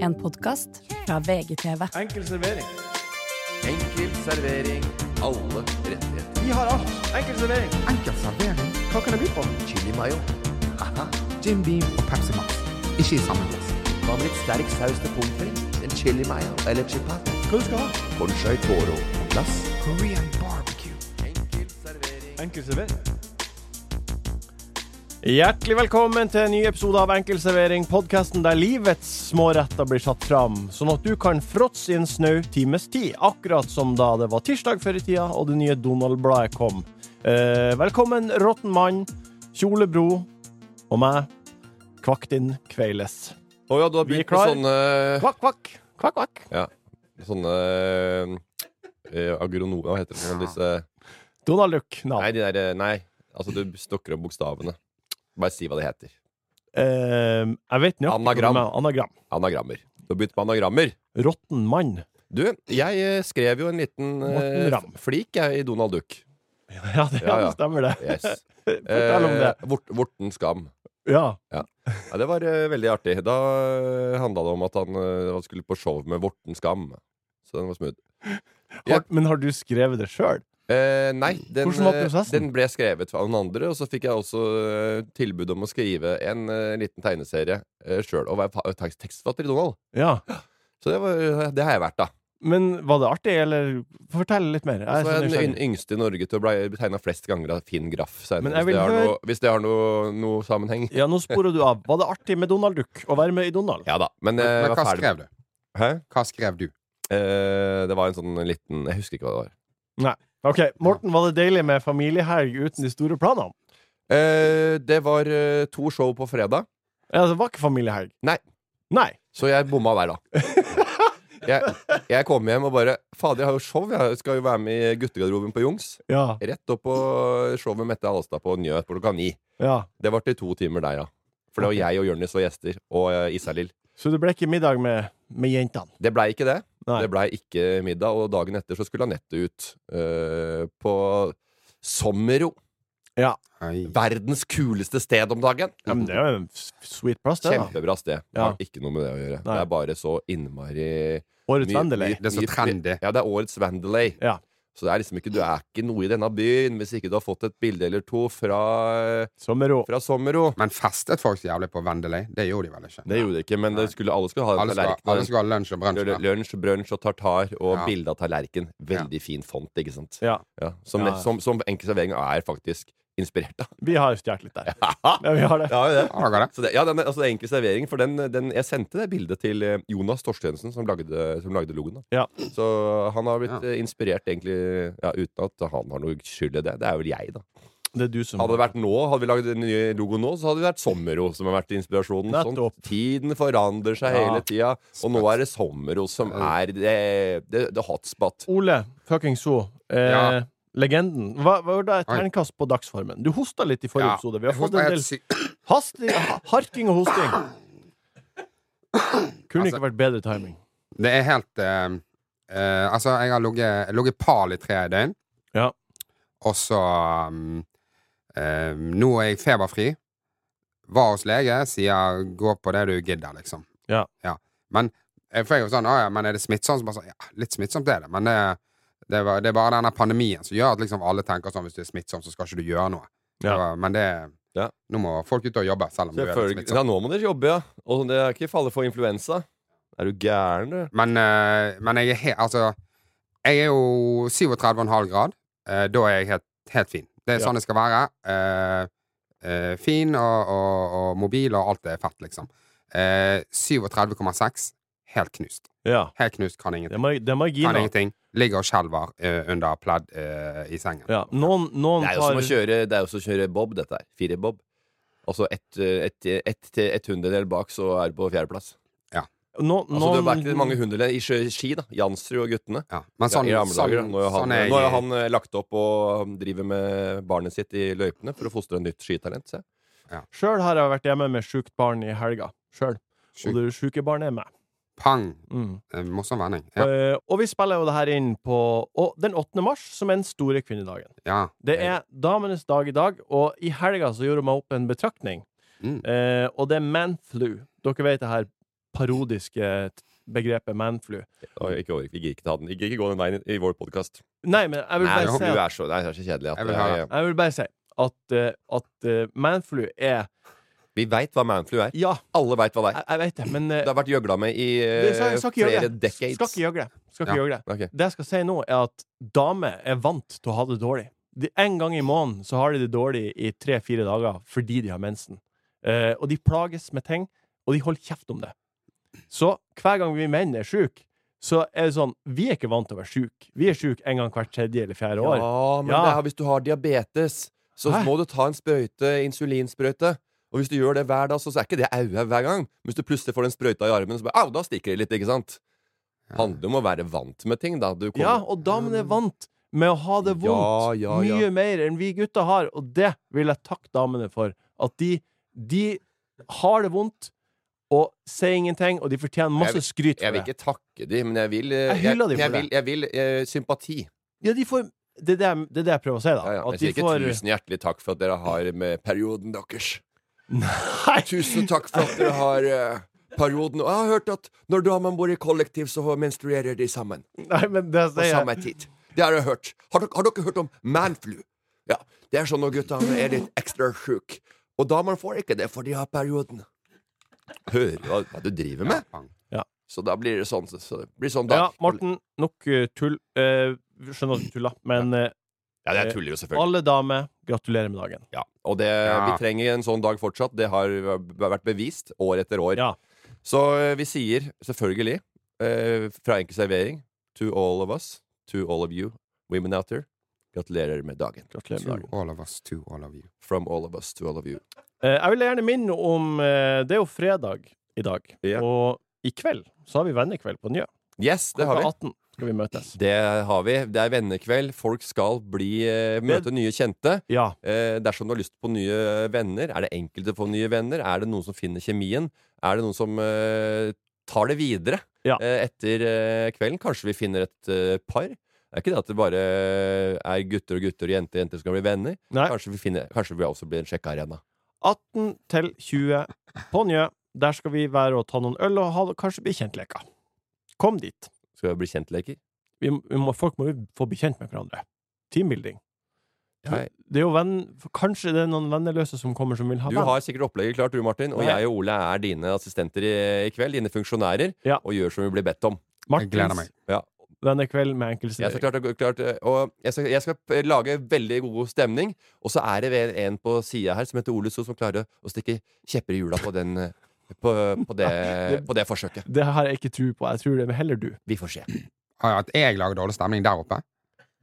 En podkast fra VGTV. Enkel servering. Enkel servering. Alle rettigheter. Vi har alt. Enkel servering. Enkel servering, Hva kan jeg by på? Chili mayo. Haha. Jim Beam og Pepsi Max. Ikke i samme glass. Hva med litt sterk saus til pommes frites? En chili mayo eller chipat? Hva du skal ha? Conchai toro på glass. Korean barbecue. Enkel servering. Enkel servering. Hjertelig velkommen til en ny episode av Enkel servering, podkasten der livets småretter blir satt fram, sånn at du kan fråtse i en snau times tid, akkurat som da det var tirsdag før i tida og det nye Donald-bladet kom. Eh, velkommen, råtten mann, kjolebro og meg, Kvaktin Kveiles. Å ja, du har Vi er begynt klar. med sånne Kvakk, kvakk. Kvakk, kvakk. Sånne eh, agrono... Hva heter det? Disse Donald Duck. Nei. Nei, de der eh, Nei. Altså, du stokker opp bokstavene. Bare si hva det heter. Eh, jeg vet nøyaktig hva du Anagram. mener. Anagram. Anagrammer. Du har begynt med anagrammer. Råtten mann. Du, jeg eh, skrev jo en liten eh, Morten Ramm. flik jeg, i Donald Duck. Ja, det Ja, ja. stemmer det. Yes. Fortell om det. Eh, Vort, Vorten Skam. Ja. Ja, det var eh, veldig artig. Da eh, handla det om at han, eh, han skulle på show med Vorten Skam. Så den var smooth. Ja. Har, men har du skrevet det sjøl? Eh, nei, den, Hvordan var eh, prosessen? den ble skrevet av noen andre. Og så fikk jeg også eh, tilbud om å skrive en eh, liten tegneserie uh, sjøl. Og være fa- tek- tekstforfatter i Donald. Ja. Så det, var, eh, det har jeg vært, da. Men var det artig, eller Fortell litt mer. Og Jeg så er er så jeg den nysgjerrig. y- yngste i Norge til å bli tegna flest ganger av Finn Graff. senere, Men jeg vil hvis det har høre- noe, hvis det har noe, noe sammenheng. Ja, nå sporer du av. Var det artig med Donald Duck? Å være med i Donald? Ja da. Men, Men, jeg men hva var Eh, ferdig. skrev du? Hæ? Hva skrev du? Eh, det var en sånn liten Jeg husker ikke hva det var. Ok, Morten, var det deilig med familiehelg uten de store planene? Eh, det var eh, to show på fredag. Ja, altså, det var ikke familiehelg. Nei. Nei. Så jeg bomma hver dag. Jeg, jeg kom hjem og bare Fader, jeg har jo show. Jeg skal jo være med i guttegarderoben på Jungs. Ja. Rett opp på show med Mette Alstad på Njø klokka ni. ja. Det var til to timer der, ja. For det var jeg og Jonis og gjester. Og eh, Isalill. Så det ble ikke middag med, med jentene? Det blei ikke det. Nei. Det blei ikke middag. Og dagen etter så skulle Anette ut eh, på Sommero. Oi. Verdens kuleste sted om dagen. Ja, men det er jo en s- sweet plass, det. da Kjempebra sted. Det Ja. har ikke noe med det å gjøre. Nei. Det er bare så innmari Årets Mye- Vendeløy. mye- Det er så mye fri- trendy. Ja, det er årets Vandelay. Ja. Så det er liksom ikke, du er ikke noe i denne byen hvis ikke du har fått et bilde eller to fra, Sommerro. fra Sommero. Men festet folk så jævlig på Vendeløy? Det gjorde de vel ikke? Det gjorde det ikke, men det skulle, alle skulle ha en Alle skulle, tallerken. alle skulle ha lunsj og brunsj. Lø- da. Lunsj, brunsj og tartar og Ja. bilde av tallerken. Veldig fin font, ikke sant? Ja. Ja, Som, Ja. som, som enkel servering er faktisk inspirert av. Vi har stjålet litt der. Ja, vi har det. Ja, det. Ja, det. Så det, ja, den, altså det er enkel servering, for den, den, jeg sendte det bildet til eh, Jonas Torstensen, som lagde, som lagde logoen. Da. Ja. Så han har blitt Ja. eh, inspirert, egentlig, ja, uten at han har noe skyld i det. Det er vel jeg, da. Det er du som Hadde det vært nå, hadde vi lagd den nye logoen nå, så hadde det vært Sommero som har vært inspirasjonen. Sånn, Nettopp. tiden forandrer seg Ja. hele tida, og nå er det Sommero som er det, det, det hotspot. Ole fucking So. Eh, Ja. Legenden. Hva, hva var da et Oi. terningkast på dagsformen? Du hosta litt i forrige Ja. episode. Vi har Jeg fått var en helt del syk. hastig, ha- harking og hosting. Kunne Altså- ikke vært bedre timing. Det er helt eh, eh, Altså, jeg har ligget jeg har ligget pal i tre døgn. Ja. Og så um, eh, Nå er jeg feberfri. Var hos lege, sier 'gå på det du gidder', liksom. Ja. Men jeg får jo sånn, «Å ja, men er det smittsomt? Så bare sånn, ja, litt smittsomt er det, men det, det, er, bare- det er bare denne pandemien som gjør at liksom alle tenker sånn hvis du er smittsom, så skal ikke du gjøre noe. Ja. Så, men det Ja. Nå må folk ut og jobbe, selv om du er litt liksom- Selvfølgelig. smittsom. Ja, nå må dere jobbe, ja. Og det er ikke falle for influensa. Er du gæren, du? Men, eh, men jeg er helt Altså, jeg er jo 37,5 grad. Eh, da er jeg helt, helt fin. Det er Ja. sånn det skal være. Eh, eh, fin og, og, og mobil og alt er fett, liksom. Eh, 37,6. Helt knust. Ja. Helt knust, kan Det ingenting. er, mar det er Kan marginer. ingenting. Ligger og skjelver eh, under pledd eh, i sengen. Ja. Noen, noen Det er jo som å tar kjøre, det er jo som å kjøre bob, dette her. Fire bob. Altså ett et, et, til et hundredel bak, så er du på fjerdeplass. no, Altså, det er ikke mange noen, hundredel i sjø- ski, da. Jansrud og guttene. Ja. Men Sånn, sånn, ja, I gamle sånn, dager. da. Nå har han, sånn er jeg, nå har han eh, lagt opp og driver med barnet sitt i løypene for å fostre et nytt skitalent. Se. Sjøl har jeg vært hjemme med sjukt barn i helga. Sjøl. Sjukt. Og det sjuke barnet er meg. Pang! Mm. Eh, Morsom vending. Ja. Eh, og vi spiller jo det her inn på og den 8. mars, som er den store kvinnedagen. ja. Det er damenes dag i dag, og i helga så gjorde jeg meg opp en betraktning. Mm. Eh, og det er manflu. Dere vet det her parodiske t- begrepet manflu. Oi, ikke, over- vi gidder ikke ta den. Vi gidder ikke gå den veien i, i vår podkast. Nei, men jeg vil Nei, bare du si at, er så, nei, det er så kjedelig at eh, Jeg vil ha jeg- jeg vil bare si at, eh, at eh, manflu er Vi veit hva manflu er. Ja, Alle veit hva det er. jeg, jeg vet det, men eh, Det har vært gjøgla med i eh, det- jeg skal ikke gjøre flere det. decades. Skal ikke gjøgle. Skal ikke Ja. gjøgle. Ok. Det jeg skal si nå, er at damer er vant til å ha det dårlig. De, en gang i måneden så har de det dårlig i tre-fire dager fordi de har mensen. Eh, og de plages med ting, og de holder kjeft om det. Så hver gang vi menn er sjuke, så er det sånn Vi er ikke vant til å være sjuke. Vi er sjuke en gang hvert tredje eller fjerde år. Ja, men Ja. Det er, hvis du har diabetes, så Hæ? må du ta en sprøyte, insulinsprøyte. Og hvis du gjør det hver dag, så, så er ikke det au-au hver gang. Men hvis du plutselig får den sprøyta i armen, så bare au, da stikker det litt, ikke sant? Handler om å være vant med ting, da. Du kommer- Ja, og damene er vant med å ha det vondt Um, Ja, ja, ja. mye mer enn vi gutter har, og det vil jeg takke damene for. At de, de har det vondt og sier ingenting, og de fortjener masse Jeg skryt Jeg for vil det. ikke takke de, men jeg vil eh, Jeg hyller de jeg, jeg for vil, jeg vil eh, sympati. Ja, de får, det, er det, jeg- det er det jeg prøver å si, da. Ja, ja. At Jeg sier de ikke får tusen hjertelig takk for at dere har med perioden deres. Nei! Tusen takk for at dere har eh, perioden. Og jeg har hørt at når damer bor i kollektiv, så menstruerer de sammen. Nei, men det på sier samme jeg. tid. Det har jeg hørt. Har dere, har dere hørt om manflu? Ja, det er sånn når gutta er litt ekstra sjuke. Og damer får ikke det, for de har perioden. Hører du hva, hva du driver med? Ja. Så da blir det sånn. Så så det blir sånn Ja, dag. Morten, nok eh, tull. Eh, skjønner at du tuller, men eh, Ja, jeg tuller jo selvfølgelig. alle damer, gratulerer med dagen. Ja. Og det, vi Ja. trenger en sånn dag fortsatt. Det har vært bevist år etter år. Ja. Så eh, vi sier selvfølgelig, eh, fra enkel servering, to all of us, to all of you, women out there, gratulerer med dagen. Gratulerer med To dagen. all of us, to all of you. From all of us to all of you. Eh, Jeg vil gjerne minne om eh, Det er jo fredag i dag, Ja. og i kveld så har vi vennekveld på Njø. Yes, det har vi. Klokka 18 skal vi møtes. Det har vi. Det er vennekveld. Folk skal bli, eh, møte nye kjente. Ja. Eh, dersom du har lyst på nye venner, er det enkelt å få nye venner? Er det noen som finner kjemien? Er det noen som eh, tar det videre Ja. eh, etter eh, kvelden? Kanskje vi finner et eh, par? Det er ikke det at det bare er gutter og gutter og jenter og jenter som skal bli venner. Nei. Kanskje vi, finner, kanskje vi også blir en sjekkearena. 18 til 20 på Njø. Der skal vi være og ta noen øl og ha kanskje bekjentleker. Kom dit. Skal vi bli kjentleker? Vi, vi må, folk må jo få bli kjent med hverandre. Teambuilding. Nei. Det er jo venn, kanskje det er noen venneløse som kommer som vil ha Du venn. har sikkert opplegget klart, du Martin. Og Nei. jeg og Ole er dine assistenter i, i kveld. Dine funksjonærer. Ja. Og gjør som vi blir bedt om. Jeg gleder meg. Ja. vennekveld med Jeg skal, enkeltservering. klart, klart, eh, og jeg, skal, jeg skal p- lage veldig god stemning. Og så er det vel en på sida her som heter Ole So, som klarer å stikke kjepper i hjula på, den, eh, på, på, det, på det forsøket. Det har jeg ikke tro på. Jeg tror det er heller du. Vi får se. Nei, Å Ah, ja, at jeg lager dårlig stemning der oppe?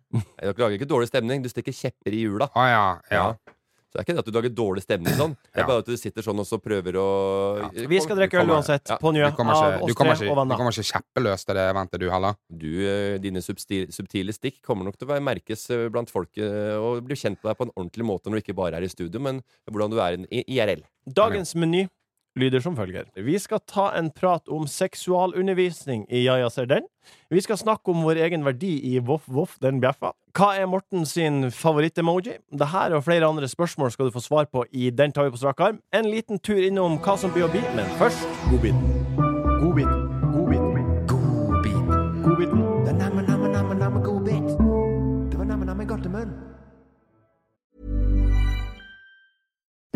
Du lager ikke dårlig stemning, du stikker kjepper i hjula. Å Ah, ja, ja. Så det er ikke det at du lager dårlig stemning sånn. Det Ja. er bare at du sitter sånn og så prøver å eh, Vi skal drikke øl kommer- uansett, Ja. på Njø. Du kommer Av ikke, oss du kommer tre ikke, og du venner. kommer ikke kjeppeløs til det eventet, du heller. Du, eh, dine substil, subtile stikk kommer nok til å være merkes eh, blant folk eh, og bli kjent med deg på en ordentlig måte når du ikke bare er i studio, men hvordan du er i- i IRL. Dagens meny lyder som følger. Vi skal ta en prat om seksualundervisning i Ja, ja, ser den. Vi skal snakke om vår egen verdi i Voff, voff, den bjeffa. Hva er Morten sin favoritt-emoji? Dette og flere andre spørsmål skal du få svar på i Den tar vi på strak arm. En liten tur innom hva som blir å bli, men først godbiten. Godbiten. Godbiten. Godbit. Godbiten. Det er namme, namme, namme, namme godbit. Det var namme, namme godtemunn.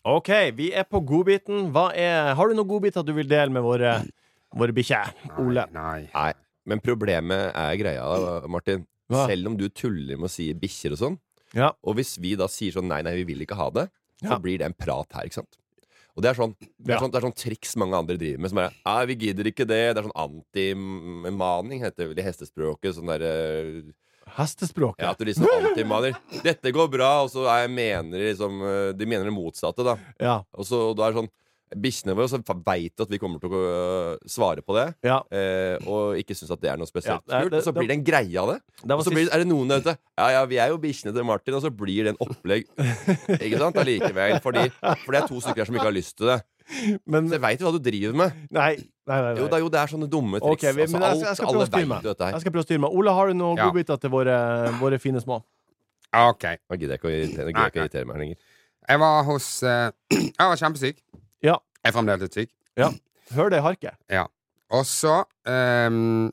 OK, vi er på godbiten. Hva er, har du noen godbiter du vil dele med våre, våre bikkjer? Ole. Nei. nei. Nei, men problemet er greia, Martin. Hva? Selv om du tuller med å si bikkjer og sånn, Ja. og hvis vi da sier sånn nei, nei, vi vil ikke ha det, så Ja. blir det en prat her, ikke sant? Og det er sånn, det er Ja. sånn, det er sånn triks mange andre driver med, som er nei, vi gidder ikke det. Det er sånn antimaning, heter det vel i hestespråket. Sånn derre Hestespråket. Ja, at du liksom antimaner. Dette går bra, og så er, mener de liksom eh, De mener det motsatte, da. Ja. Og så og da er det sånn Bikkjene våre så veit at vi kommer til å øh, svare på det, Ja. eh, og ikke syns at det er noe spesielt Ja, det- kult. Så det- blir det en greie av det. Det var Og så blir, er det noen der ute Ja, ja, vi er jo bikkjene til Martin, og så blir det en opplegg. Ikke sant? Allikevel. Fordi, for det er to stykker her som ikke har lyst til det. Men Så jeg veit jo hva du driver med. Nei, nei, nei. Jo nei. da, jo, det er sånne dumme triks. Altså, Ok, vi, men jeg, skal- jeg, skal prøve å alle styre veit meg. jo dette jeg her. skal prøve å styre meg. Ole, har du noen Ja. godbiter til våre, våre fine små? Ah, Ok. Nå gidder jeg ikke å irritere, nå gidder jeg ikke å irritere meg lenger. Jeg var hos eh, Jeg var kjempesyk. Ja. Jeg er fremdeles litt syk. Hør det harket. Og så ehm,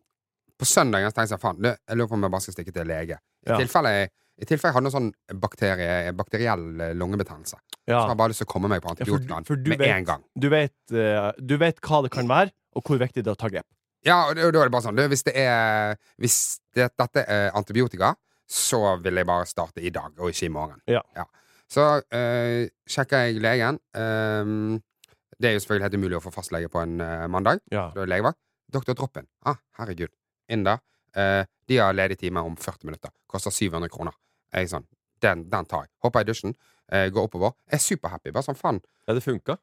På søndagen så tenkte jeg faen, du, jeg lurer på om jeg bare skal stikke til lege. I Ja. tilfelle jeg, i tilfelle jeg hadde noen sånn bakterie, bakteriell eh, lungebetennelse. Så Ja. har jeg bare lyst til å komme meg på Ja, for du- antibiotikaen for du med vet- en gang. Du, vet, eh, du vet hva det kan være, og hvor viktig det er å ta grep. Ja, og da da er det bare sånn du, Hvis, det er, hvis det, dette er antibiotika, så vil jeg bare starte i dag, og ikke i morgen. Ja. Så øh, sjekker jeg legen. Ehm, det er jo selvfølgelig helt umulig å få fastlege på en øh, mandag. Ja. Da er det legevakt. Doktor Droppen. Ah, herregud. Inn der. Eh, de har ledig time om 40 minutter. Koster 700 kroner. Jeg er sånn, den, den tar jeg. Hopper i dusjen, eh, går oppover. Jeg er superhappy. Bare sånn, faen. Ja, det funka.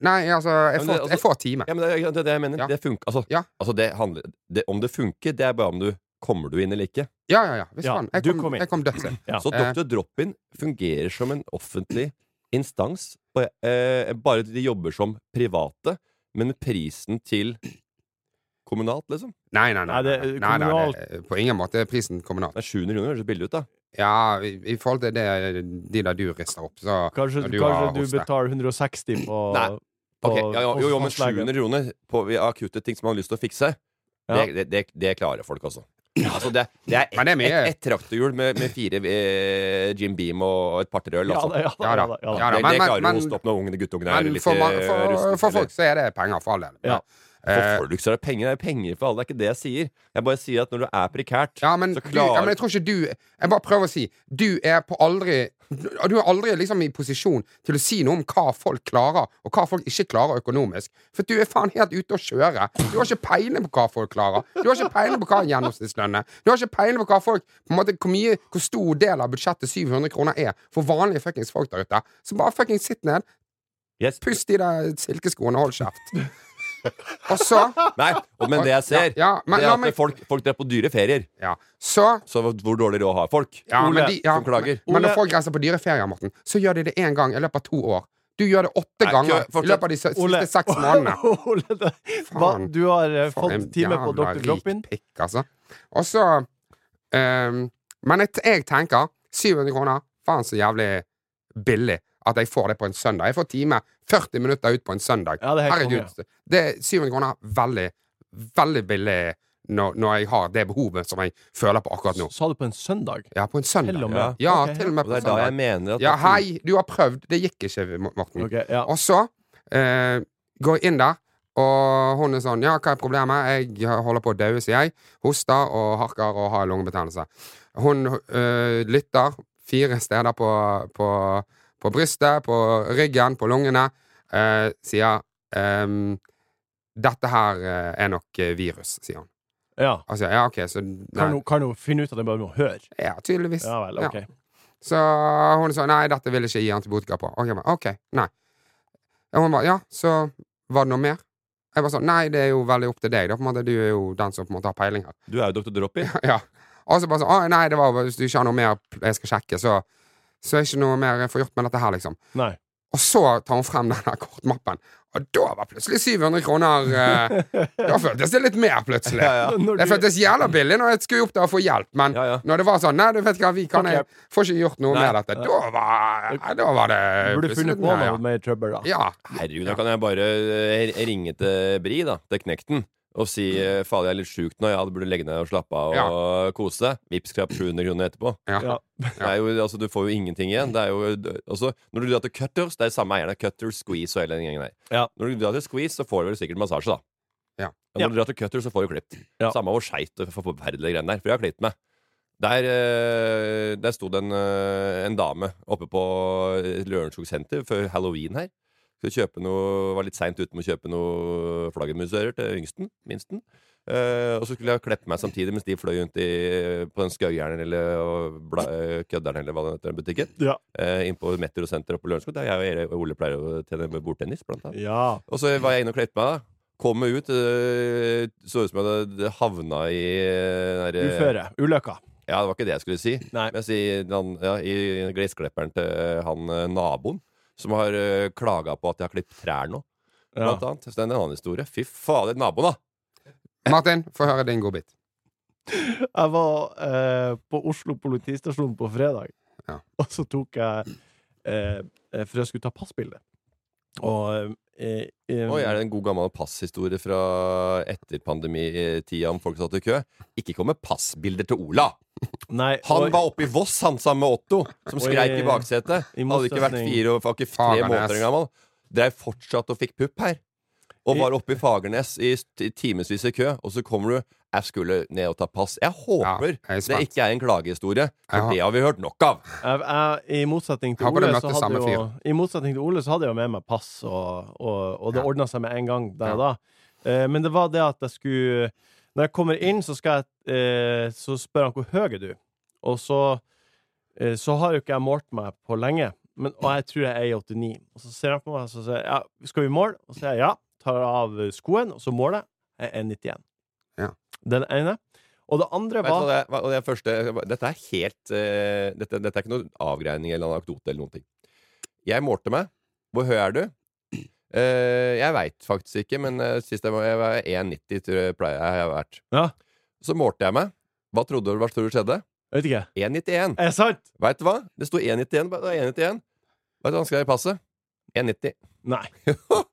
Nei, altså, jeg Men får, det- altså- jeg får time. Ja, men det er det, er det jeg mener. Ja. Det funker. Altså, Ja. altså det handler, det, om det funker, det er bare om du kommer du inn eller ikke. Ja, ja, ja. Hvis Ja, faen. Jeg du kom, kom inn. jeg kom dødsig. Ja. Så Eh. Dr. Drop-In fungerer som en offentlig instans. Bare, eh, bare de jobber som private, men med prisen til kommunalt, liksom. Nei, nei, nei. Nei, det- nei, nei, nei, kommunalt- det- på ingen måte er prisen kommunal. Det er 700 kroner, høres det billig ut, da. Ja, i, i forhold til det de der du rister opp, så Kanskje når du, har kanskje du hoste. betaler 160 på, Nei. på Ok, ja, ja, jo, jo, men hos fastlegen. 700 kroner på ved akutte ting som man har lyst til å fikse, Ja. det, det, det, det klarer folk, altså. altså det, det er Men ett det er mye. et, et traktorhjul med, med fire eh, Jim Beam og et par-tre øl, Ja altså. da, ja da. Ja Ja, da. da, ja, da. Ja da, det, men- det klarer men- du å stoppe når ungene guttungene er Men litt for, ma- eh, for, rustne, for eller- folk så er det penger, for all del. Ja. Eh, For folk så er det penger. Det er penger for alle. Det er ikke det jeg sier. Jeg bare sier at når det er prekært, ja, men, så du, klarer ja, men jeg tror ikke du Jeg bare prøver å si Du er på aldri Du er aldri liksom i posisjon til å si noe om hva folk klarer, og hva folk ikke klarer økonomisk. For du er faen helt ute å kjøre. Du har ikke peiling på hva folk klarer. Du har ikke peiling på hva en gjennomsnittslønn er. Du har ikke peiling på hva folk på en måte, hvor, mye, hvor stor del av budsjettet 700 kroner er for vanlige fuckings folk der ute. Så bare fuckings sitt ned, Yes. pust i deg silkeskoene og hold kjeft. Og så Nei, og, men det jeg ser, Ja, ja, men det la er at meg- folk, folk drar på dyre ferier. Ja. Så Så hvor dårlig råd har folk? Ja, Ole, men de, ja, som klager. Men, men når Ole- folk reiser på dyreferier, Morten, så gjør de det én gang i løpet av to år. Du gjør det åtte Nei, ganger ikke- fortsatt- i løpet av de sø- Ole. siste seks månedene. Ole, det- hva, du har eh, fått time på Dr. Drop-In. pikk, altså. Og så ehm, Men jeg, jeg tenker 700 kroner, faen så jævlig billig at jeg får det på en søndag. Jeg får time 40 minutter ut på en søndag. Ja, det er helt Herregud. Det er 700 kroner veldig, veldig billig når, når jeg har det behovet som jeg føler på akkurat nå. Sa du på en søndag? Ja, på en søndag. Til og med. Ja, ja Ok, til og med Og på det er da søndag. jeg mener at Ja, hei, du har prøvd. Det gikk ikke, Morten. Ok, ja. Og så eh, går jeg inn der, og hun er sånn Ja, hva er problemet? Jeg holder på å daue, sier jeg. Hoster og harker og har lungebetennelse. Hun eh, lytter fire steder på, på, på brystet, på ryggen, på lungene. Eh, sier ehm, Dette her eh, er nok eh, virus, sier hun. Ja. Altså, ja, OK, så Kan nei, hun, kan hun finne ut av det bare med å høre? Ja, tydeligvis. Ja vel, Ja. ok. Så hun sa nei, dette vil jeg ikke gi antibiotika på. Og jeg ba, ok, nei. Og hun ba, ja, så var det noe mer? Jeg bare sånn, nei, det er jo veldig opp til deg, da, på en måte. Du er jo den som på en måte har peiling her. Du er jo Dr. Droppi. ja. Og så bare sånn, å nei, det var, hvis du ikke har noe mer jeg skal sjekke, så, så er ikke noe mer jeg får gjort med dette her, liksom. Nei. Og så tar hun frem denne kortmappen, og da var plutselig 700 kroner eh, Da føltes det litt mer, plutselig. Når Det du- føltes jævla billig når jeg skulle opp der og få hjelp, men Ja, ja. når det var sånn Nei, du vet hva, vi kan Ok. jeg får ikke gjort noe Nei. med dette. Da var, nei, da var det Burde funnet på Nei, noe mer trøbbel, da. Ja. ja. Herregud, da kan jeg bare eh, ringe til Bri, da. Til Knekten. og si eh, 'fader, jeg er litt sjuk nå, ja, du burde legge deg ned og slappe av og kose deg'. Vips, krapp 700 kroner etterpå. Ja. Det er jo, altså, du får jo ingenting igjen. Det er jo, altså, når du drar til Cutters, det er samme eierne. Cutters, Squeeze og hele den gjengen der. Ja. Når du drar til Squeeze, så får du vel sikkert massasje, da. Ja. Men når du drar til Cutters, så får du klipt. Ja. Samme hvor skeit og forferdelige greiene der. For jeg har klipt meg. Der, eh, der sto det en, eh, en dame oppe på Lørenskog senter før halloween her. Skulle kjøpe noe, Var litt seint ute med å kjøpe noe flaggermusører til yngsten. Minsten. Eh, og så skulle jeg kleppe meg samtidig mens de fløy rundt i, på den skaujernen eller og bla, eh, kødderen eller hva det heter, den butikken. Ja. Eh, Innpå Metrosenteret oppe på Lørenskog, der jeg og Ole pleier å tjene med bordtennis. Blant annet. ja. Og så var jeg inne og kledde meg. da Kom meg ut. eh, Så ut som jeg hadde havna i eh, der, eh, Uføre. Ulykka. Ja, det var ikke det jeg skulle si. Nei. Men jeg sier han, ja, i gressklipperen til eh, han eh, naboen, som har uh, klaga på at jeg har klippet trær nå. Ja. Blant annet. Så det er en annen historie. Fy fader, naboen, da! Martin, få høre din godbit. Jeg var eh, på Oslo politistasjon på fredag, Ja. og så tok jeg eh, eh, For jeg skulle ta passbilde. Og eh, eh, Oi, er det en god gammel passhistorie fra etter pandemitida om folk satt i kø? Ikke kom med passbilder til Ola! Nei, Han og- var oppe i Voss, han sammen med Otto, som Oi, skreik i baksetet. i Hadde ikke vært motsetning- fire og var ikke tre Fagernes. måneder gammel. Dreiv fortsatt og fikk pupp her. Og I- var oppe i Fagernes i timevis i kø, og så kommer du Jeg skulle ned og ta pass. Jeg håper jeg er det spent. ikke er en klagehistorie, for Ja. det har vi hørt nok av. Jeg, jeg, I motsetning til Håper du Ole, møtte så hadde samme jo, fyr. I motsetning til Ole så hadde jeg jo med meg pass, og, og, og det Ja. ordna seg med en gang der og Ja. da. Eh, men det var det at jeg skulle Når jeg kommer inn, så, skal jeg, eh, så spør han hvor høy er du Og så, eh, så har jo ikke jeg målt meg på lenge, men, og jeg tror jeg er 89. Og så ser han på meg og så sier jeg, ja, skal vi måle? Og så sier jeg ja. Tar av skoen, og så måler jeg. Jeg er 91. Ja. Den ene. Og det andre Vet du var hva det, er- hva- og det er første, dette er helt eh, dette, dette er ikke noen avgreining eller anekdote eller noen ting. Jeg målte meg. Hvor høy er du? Eh, jeg veit faktisk ikke, men eh, sist jeg var, jeg var 1,90 tror jeg pleier jeg har vært. Ja. Så målte jeg meg. Hva trodde du, hva tror du skjedde? Jeg vet ikke. 1,91. Er det sant? Veit du hva? Det sto 1,91. bare- det er 1,91. Vet du hva han skrev i passet? 1,90. Nei.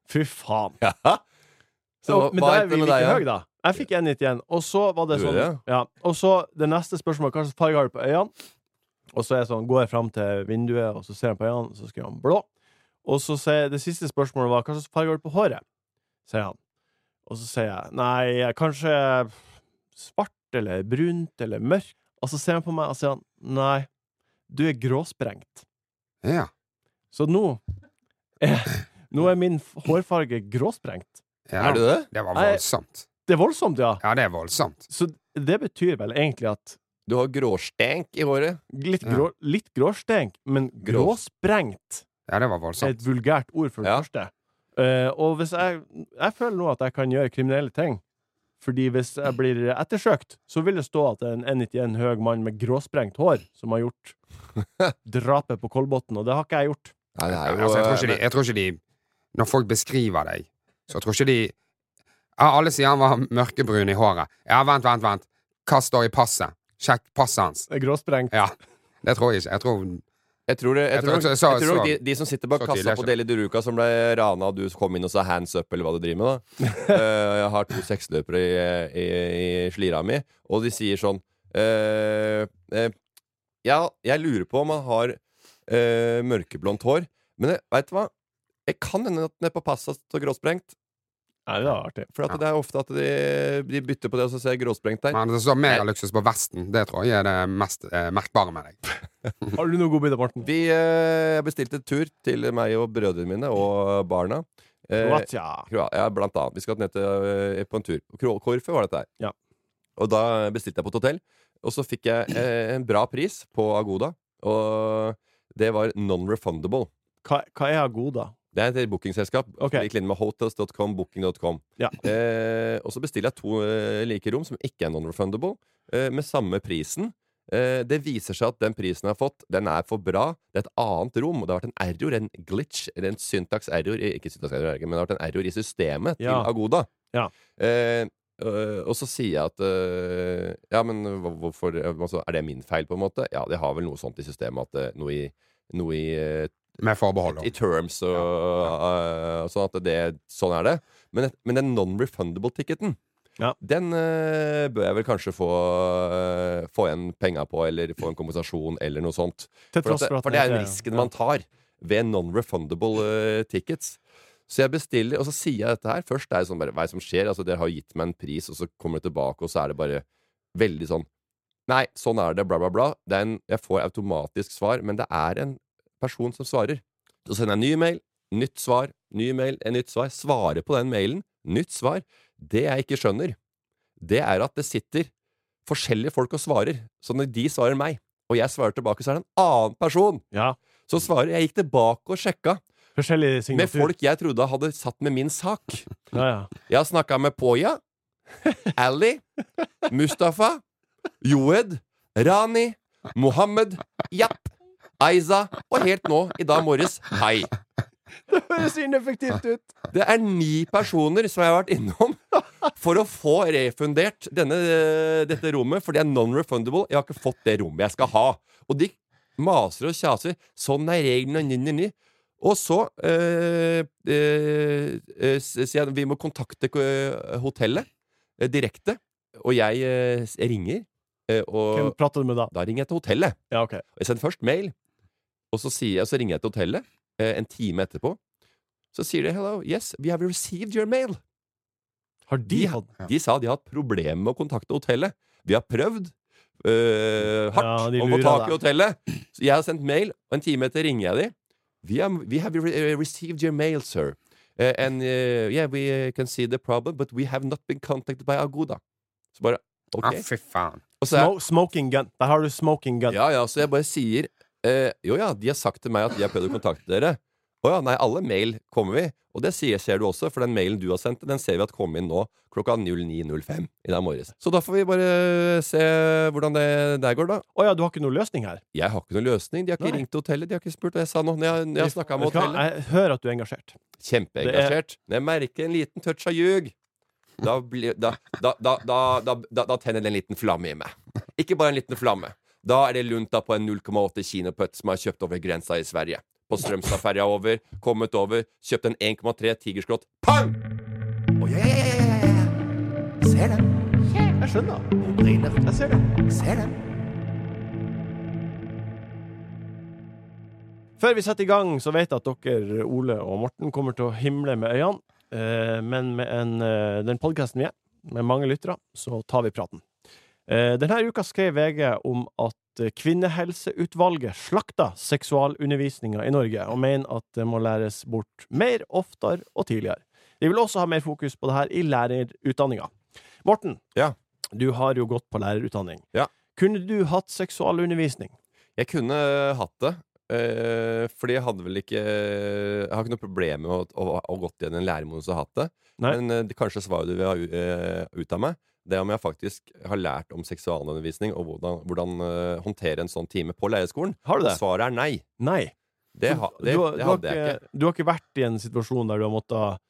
Fy faen. Ja. Så, men da er vi like høye, da. da. Jeg fikk 1,91. Og så var det Du er sånn det? ja. Og så det neste spørsmålet hva slags farge har du på øynene. Og så er jeg sånn, går jeg fram til vinduet, og så ser jeg på øynene, og så skriver han blå. Og så sier det siste spørsmålet var hva slags farge har du på håret, sier han. Og så sier jeg nei, kanskje svart eller brunt eller mørkt. Og så ser han på meg og sier han nei, du er gråsprengt. Ja. Så nå er, nå er min f- hårfarge gråsprengt. ja. Er du det? Det var Nei. voldsomt. Det er voldsomt, ja. Ja, det er voldsomt. Så det betyr vel egentlig at Du har gråstenk i håret. litt, grå, litt gråstenk, men Grå- gråsprengt Ja, det var er voldsomt. et vulgært ord for det Ja. første. Eh, og hvis jeg, jeg føler nå at jeg kan gjøre kriminelle ting. Fordi hvis jeg blir ettersøkt, så vil det stå at det er en 191 høy mann med gråsprengt hår som har gjort drapet på Kolbotn, og det har ikke jeg gjort. Nei, det er jo, Altså, jeg, tror eh, ikke de, jeg tror ikke de Når folk beskriver deg, så jeg tror ikke de ja, Alle sier han var mørkebrun i håret. Ja, vent, vent, vent. Hva står i passet? Sjekk passet hans. Det er Gråsprengt. Ja. Det tror jeg ikke. Jeg tror Jeg tror, det, jeg Jeg tror, tror nok- ikke- jeg så- tror nok så- de, de som sitter bak så kassa tidlig, på jeg Deli de Ruca som ble rana, og du kom inn og sa hands up, eller hva du driver med, da. Eh, jeg har to seksløpere i, i, i slira mi, og de sier sånn eh, eh, Ja, jeg lurer på om han har eh, mørkeblondt hår, men jeg- veit du hva? Jeg kan hende at nede på passa står gråsprengt, Nei, det var artig. for at det er ofte at de, de bytter på det, og så ser jeg gråsprengt der. Men det står megaluksus på vesten. Det tror jeg er det mest eh, merkbare med deg. Har du noe godbit, Morten? Vi eh, bestilte tur til meg og brødrene mine og barna. Eh, Kroatia. Kroa- Ja, blant annet. Vi skal ned til, eh, på en tur. Kro- Korfu var dette her. Ja. Og da bestilte jeg på et hotell, og så fikk jeg eh, en bra pris på Agoda. Og det var non-refundable. Hva, hva er Agoda? Det er et bookingselskap. Ok. Lik linje med hotels.com, booking.com. Ja. Eh, og så bestiller jeg to eh, like rom som ikke er non-refundable, eh, med samme prisen. Eh, det viser seg at den prisen jeg har fått, den er for bra. Det er et annet rom, og det har vært en error, en glitch, eller en syntax-error i- Ikke syntax-error, men det har vært en error i systemet Ja. til Agoda. Ja. Eh, øh, og så sier jeg at øh, Ja, men hva- hvorfor altså, Er det min feil, på en måte? Ja, det har vel noe sånt i systemet at eh, noe i, noe i eh, Med forbehold. i om. terms og, eh, og sånn at det, sånn er det. Men, men den non-refundable ticketen Ja. Den eh, bør jeg vel kanskje få, eh, få igjen penga på, eller få en kompensasjon, eller noe sånt. Til For, tross at det, for at for den det er ikke- jo risken man tar ved non-refundable eh, tickets. Så jeg bestiller, og så sier jeg dette her. Først er det sånn bare Hva er det som skjer? Altså, dere har gitt meg en pris, og så kommer det tilbake, og så er det bare veldig sånn Nei, sånn er det, bla, bla, bla. Det er en, jeg får automatisk svar, men det er en person som svarer. Så sender jeg en ny mail, nytt svar, ny mail, en nytt svar. Svarer på den mailen, nytt svar. Det jeg ikke skjønner, det er at det sitter forskjellige folk og svarer. Så når de svarer meg, og jeg svarer tilbake, så er det en annen person Ja. som svarer. Jeg gikk tilbake og sjekka Forskjellige med signaturer. folk jeg trodde hadde satt med min sak. Ja, ja. Jeg har snakka med Poya, Ali, Mustafa, Joed, Rani, Mohammed, Japp, Aiza og helt nå, i dag morges, hei. Det høres ineffektivt ut! Det er ni personer som jeg har vært innom for å få refundert denne, dette rommet, for det er non-refundable. Jeg har ikke fått det rommet jeg skal ha. Og de maser og kjaser. Sånn er reglene. Ny, ny, ny. Og så eh, eh, eh, s- sier jeg vi må kontakte eh, hotellet eh, direkte. Og jeg eh, s- ringer, eh, Hvem og prater du med da? da ringer jeg til hotellet. Ja, ok. Jeg sender først mail, og så, sier jeg, så ringer jeg til hotellet eh, en time etterpå. Så sier de 'hello, yes, we have received your mail'. Har de De- hatt De sa de har hatt problemer med å kontakte hotellet. Vi har prøvd eh, Ja, hardt de om å få lurer tak deg. i hotellet. Så jeg har sendt mail, og en time etter ringer jeg de. We, are, we have re eh, received your mail, sir. Eh, and eh, yeah, we eh, can see the problem, but we have not been contacted by Agoda. Så bare OK. Ja, fy faen. Og så er- Smo smoking gun? Der har du smoking gun. Ja, ja, så jeg bare sier eh, Jo ja, de har sagt til meg at de har prøvd å kontakte dere Å ja, nei, alle mail kommer vi Og det sier, ser du også, for den mailen du har sendt Den ser vi at kom inn nå klokka 09.05 I dag morges Så da får vi bare se hvordan det der går da Å ja, du har ikke noen løsning her? Jeg har ikke noen løsning, de har ikke Nei. ringt hotellet De har ikke spurt, og jeg sa nå, når jeg, når jeg har snakket med Vet du hva? hotellet Jeg hører at du er engasjert. Kjempeengasjert Når jeg merker en liten touch av ljug da, blir- da, da, da, da, da, da, da tenner det en liten flamme i meg Ikke bare en liten flamme Da er det lunta på en 0,8 kinopøtt Som jeg har kjøpt over grensa i Sverige På Strømstadferja over, kommet over Kjøpt en 1,3 tigerskott Pang! Å, ja, ja, ja, ja, ja, ja. Ser den, Jeg skjønner. Brenner. Jeg ser det. ser den Før vi setter i gang, så vet jeg at dere, Ole og Morten, kommer til å himle med øynene. Eh, Men med en, eh, den podkasten vi er, med mange lyttere, så tar vi praten. Eh, Denne uka skrev VG om at eh, Kvinnehelseutvalget slakta seksualundervisninga i Norge, og mener at det må læres bort mer, oftere og tidligere. De vil også ha mer fokus på det her i lærerutdanninga. Morten, Ja. du har jo gått på lærerutdanning. Ja. Kunne du hatt seksualundervisning? Jeg kunne hatt det. eh, fordi jeg hadde vel ikke eh, Jeg har ikke noe problem med å, å, å gått igjen i en læremodus og hatt det. Nei. Men eh, det kanskje svaret du vil ha u- eh, ut av meg, det er om jeg faktisk har lært om seksualundervisning og hvordan, hvordan eh, håndtere en sånn time på leirskolen. Har du Og det? Svaret er nei. Nei. Det, ha, det, du, har- det du, har hadde jeg ikke. du har ikke vært i en situasjon der du har måttet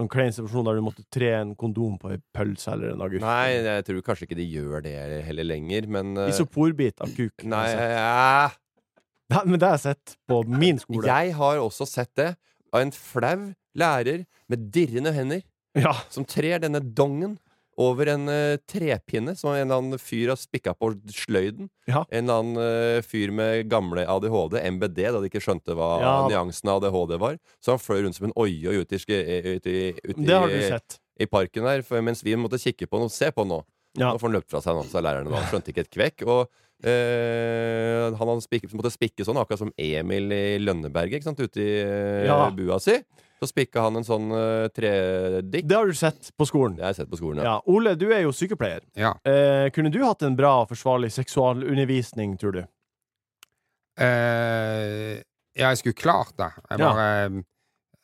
en klein situasjon der du måtte tre en kondom på en pølse eller en agurk? Nei, jeg tror kanskje ikke de gjør det heller lenger, men eh, Isoporbit av kuk. Nei, altså. eh, Nei, men det har jeg sett på min skole. jeg har også sett det av en flau lærer med dirrende hender. Ja. som trer denne dongen over en eh, trepinne som en eller annen fyr har spikka på sløyden. Ja. En eller annen eh, fyr med gamle ADHD, MBD, da de ikke skjønte hva Ja. nyansen av ADHD var. Så han fløy rundt som en oie og ut i, ske- eh, ut i, ut Det har du i, sett. i parken der, for, mens vi måtte kikke på noe. Se på nå! Ja. Nå får han løpt fra seg, nå, sa læreren. nå. Han skjønte ikke et kvekk. Og eh, han hadde spikket, måtte spikke sånn, akkurat som Emil i Lønneberget, ikke sant, ute i eh, Ja. bua si. Så spikka han en sånn eh, tredikk. Det har du sett på skolen. Det har jeg sett på skolen, ja. Ja. Ole, du er jo sykepleier. Ja. Eh, kunne du hatt en bra og forsvarlig seksualundervisning, tror du? Eh, ja, jeg skulle klart det. Jeg Ja. bare eh,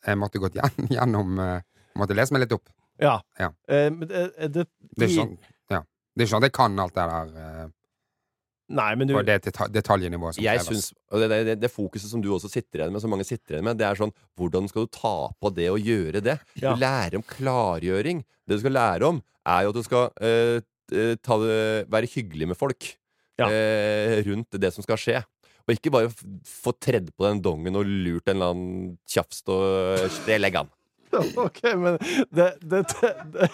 Jeg måtte gått gjen- gjennom eh, Måtte lese meg litt opp. Ja. Ja. Eh, men det, er det, Det er i- ikke sånn, ja. det er ikke sånn at jeg kan alt det der eh, Nei, men du på det deta- detaljnivået som Jeg kreves. synes, og det, det, det fokuset som du også sitter igjen med, som mange sitter igjen med, det er sånn Hvordan skal du ta på det og gjøre det? Ja. Du lærer om klargjøring. Det du skal lære om, er jo at du skal eh, eh, ta det, være hyggelig med folk Ja. eh, rundt det som skal skje. Og ikke bare f- få tredd på den dongen og lurt en eller annen tjafs og eh, Det legger an. Ok, men det, det, det,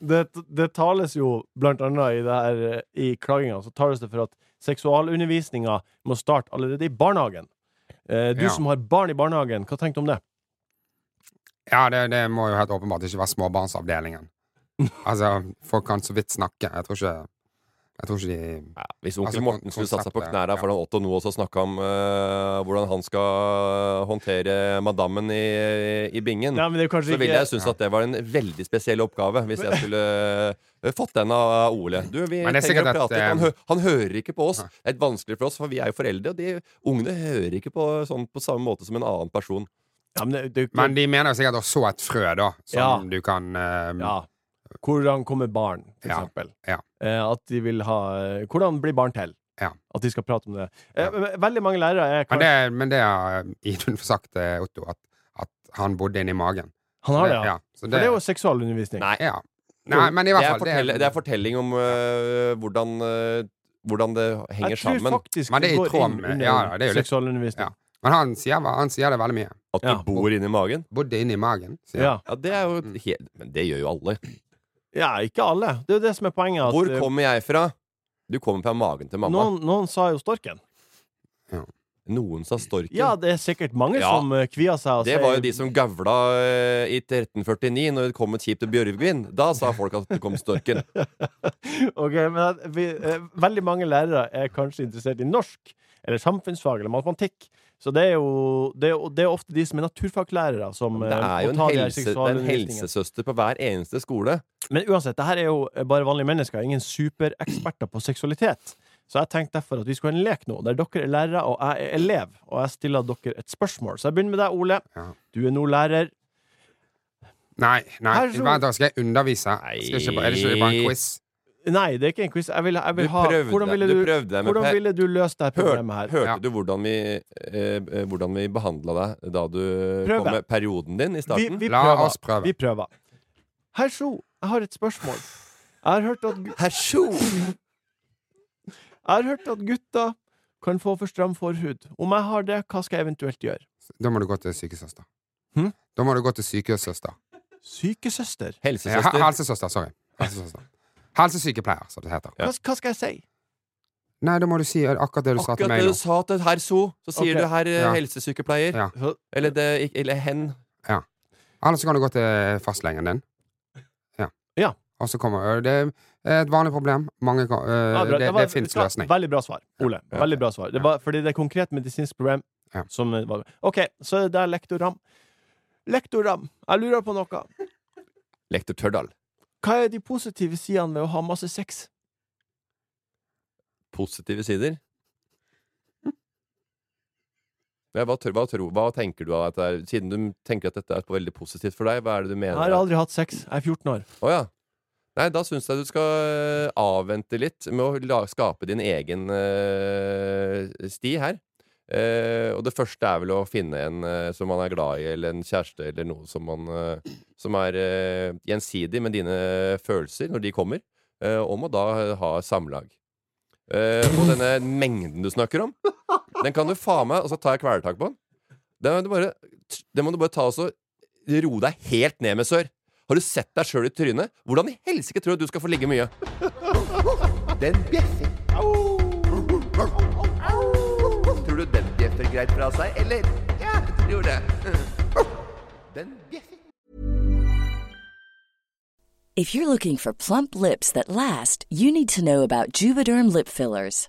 det, det tales jo blant annet i, det her, eh, i klaginga så tales det for at seksualundervisninga må starte allerede i barnehagen. Eh, Du Ja. som har barn i barnehagen, hva tenkte du om det? Ja, det, det må jo helt åpenbart ikke være småbarnsavdelingen. Altså, folk kan så vidt snakke. Jeg tror ikke Jeg tror ikke de Ja, hvis onkel Altså, kon- Morten skulle satt seg på konseptet, knærne ja. foran Otto nå også og snakka om eh, hvordan han skal håndtere madammen i, i Mm. bingen, Nei, men det er jo kanskje så ville ikke- jeg synes at det var en veldig spesiell oppgave hvis jeg skulle eh, fått den av Ole. Du, vi Men det trenger å er sikkert at, prate. litt. Han, eh, hø han hører ikke på oss. Det er vanskelig for oss, for vi er jo foreldre, og de ungene hører ikke på sånn på samme måte som en annen person. Ja, men det, det, er jo ikke- Men de mener jo sikkert å så et frø, da, som Ja. du kan eh, ja. Hvordan kommer barn, for Ja. eksempel? Ja. Eh, at de vil ha eh, Hvordan blir barn til? Ja. At de skal prate om det. Eh, Ja. men Veldig mange lærere er Men det, men det har Idun sagt til Otto, at, at han bodde inni magen. Han har det, ja. ja. Så For det, det er jo seksualundervisning. Nei. ja. Nei, men i Det hvert er, fall det, fortell det er fortelling om eh, hvordan, eh, hvordan det henger Jeg tror sammen. faktisk Men det er i går tråd inn med- under ja, ja, det er jo litt- seksualundervisning. Men han sier, han sier det veldig mye. At du Ja. bor inni magen. Bodde inni magen. sier Ja. han. Ja, det er jo Mm. helt Men det gjør jo alle. ja, ikke alle. Det er jo det som er poenget. At, Hvor eh, kommer jeg fra? Du kommer fra magen til mamma. Noen, noen, noen sa jo storken. sa storken. Ja, det er sikkert mange Ja. som eh, kvier seg og det var jo de som gavla eh, i 1349 når det kom et skip til Bjørgvin. Da sa folk at det kom storken. Ok, men at vi, eh, Veldig mange lærere er kanskje interessert i norsk, eller samfunnsfag, eller matematikk. Så det er jo det er, det er ofte de som er naturfaglærere, som Det eh, er må jo en, ta de her helse, det er en seksualundervisningen. helsesøster på hver eneste skole. Men uansett, det her er jo eh, bare vanlige mennesker, ingen supereksperter på seksualitet. Så jeg tenkte derfor at vi skulle ha en lek nå, der dere er lærere og jeg er elev, og jeg stiller dere et spørsmål. Så jeg begynner med deg, Ole. Ja. Du er nå lærer. Nei, nei. Her så- Vent, da skal jeg undervise. Skal ikke, bare- er det ikke bare en quiz? Nei, det er ikke en quiz. Jeg vil, jeg vil Du ha prøvde- Hvordan ville du du, prøvde deg med hvordan Per. ville du løst det her Hør, problemet her? hørte Ja. du hvordan vi, eh, eh, hvordan vi behandla deg da du Prøve. kom med perioden din i Vi, starten? vi La prøver. oss prøve. Vi prøver. Herr Sjo, jeg har et spørsmål. Jeg har hørt at, gu- Hersjo! jeg har hørt at gutta kan få for stram forhud. Om jeg har det, hva skal jeg eventuelt gjøre? Da må du gå til sykesøster. Hm? Da må du gå til sykesøster. Sykesøster? Ja, Helsesøster. he- helsesøster, sorry. Helsesøster. Helsesykepleier, som det heter. Ja. Hva, hva skal jeg si? Nei, da må du si akkurat det du sa til Akkurat meg det nå. du sa til herr So, så sier Ok. du herr eh, Ja. helsesykepleier. Ja. Så- Eller, det, eller hen. Eller så kan du gå til fastlegen din. Ja. Ja. Og så kommer øh, Det er et vanlig problem. Mange, kan- øh, Ja, bra. det, var- det vet fins du hva? løsning. Veldig bra svar, Ole. Ja. Veldig bra svar. Det var, fordi det er konkret medisinsk problem. Ja. Som var, OK, så er det der lektor Ram. Lektor Ram, jeg lurer på noe. Lektor Tørdal. Hva er de positive sidene ved å ha masse sex? positive sider? Ja, hva, tør- hva, tror- hva tenker du av dette? her? Siden du tenker at dette er veldig positivt for deg, hva er det Jeg du mener? har aldri hatt sex. Jeg er 14 år. Å ja. Nei, da syns jeg du skal eh, avvente litt med å la, skape din egen eh, sti her. Eh, og det første er vel å finne en eh, som man er glad i, eller en kjæreste, eller noe som, man, eh, som er eh, gjensidig med dine følelser når de kommer, eh, og må da ha samlag. Eh, og denne mengden du snakker om, den kan du faen meg Og så tar jeg kvelertak på den. Den må du bare, den må du bare ta og så roe deg helt ned med, sør. Har du sett deg sjøl i trynet? Hvordan i helsike tror du at du skal få ligge mye? Den bjeffer. Tror du den bjeffer greit fra seg, eller? Ja, jeg tror det. Den bjeffer. If you're looking for plump lips that last, you need to know about Juvederm lip fillers.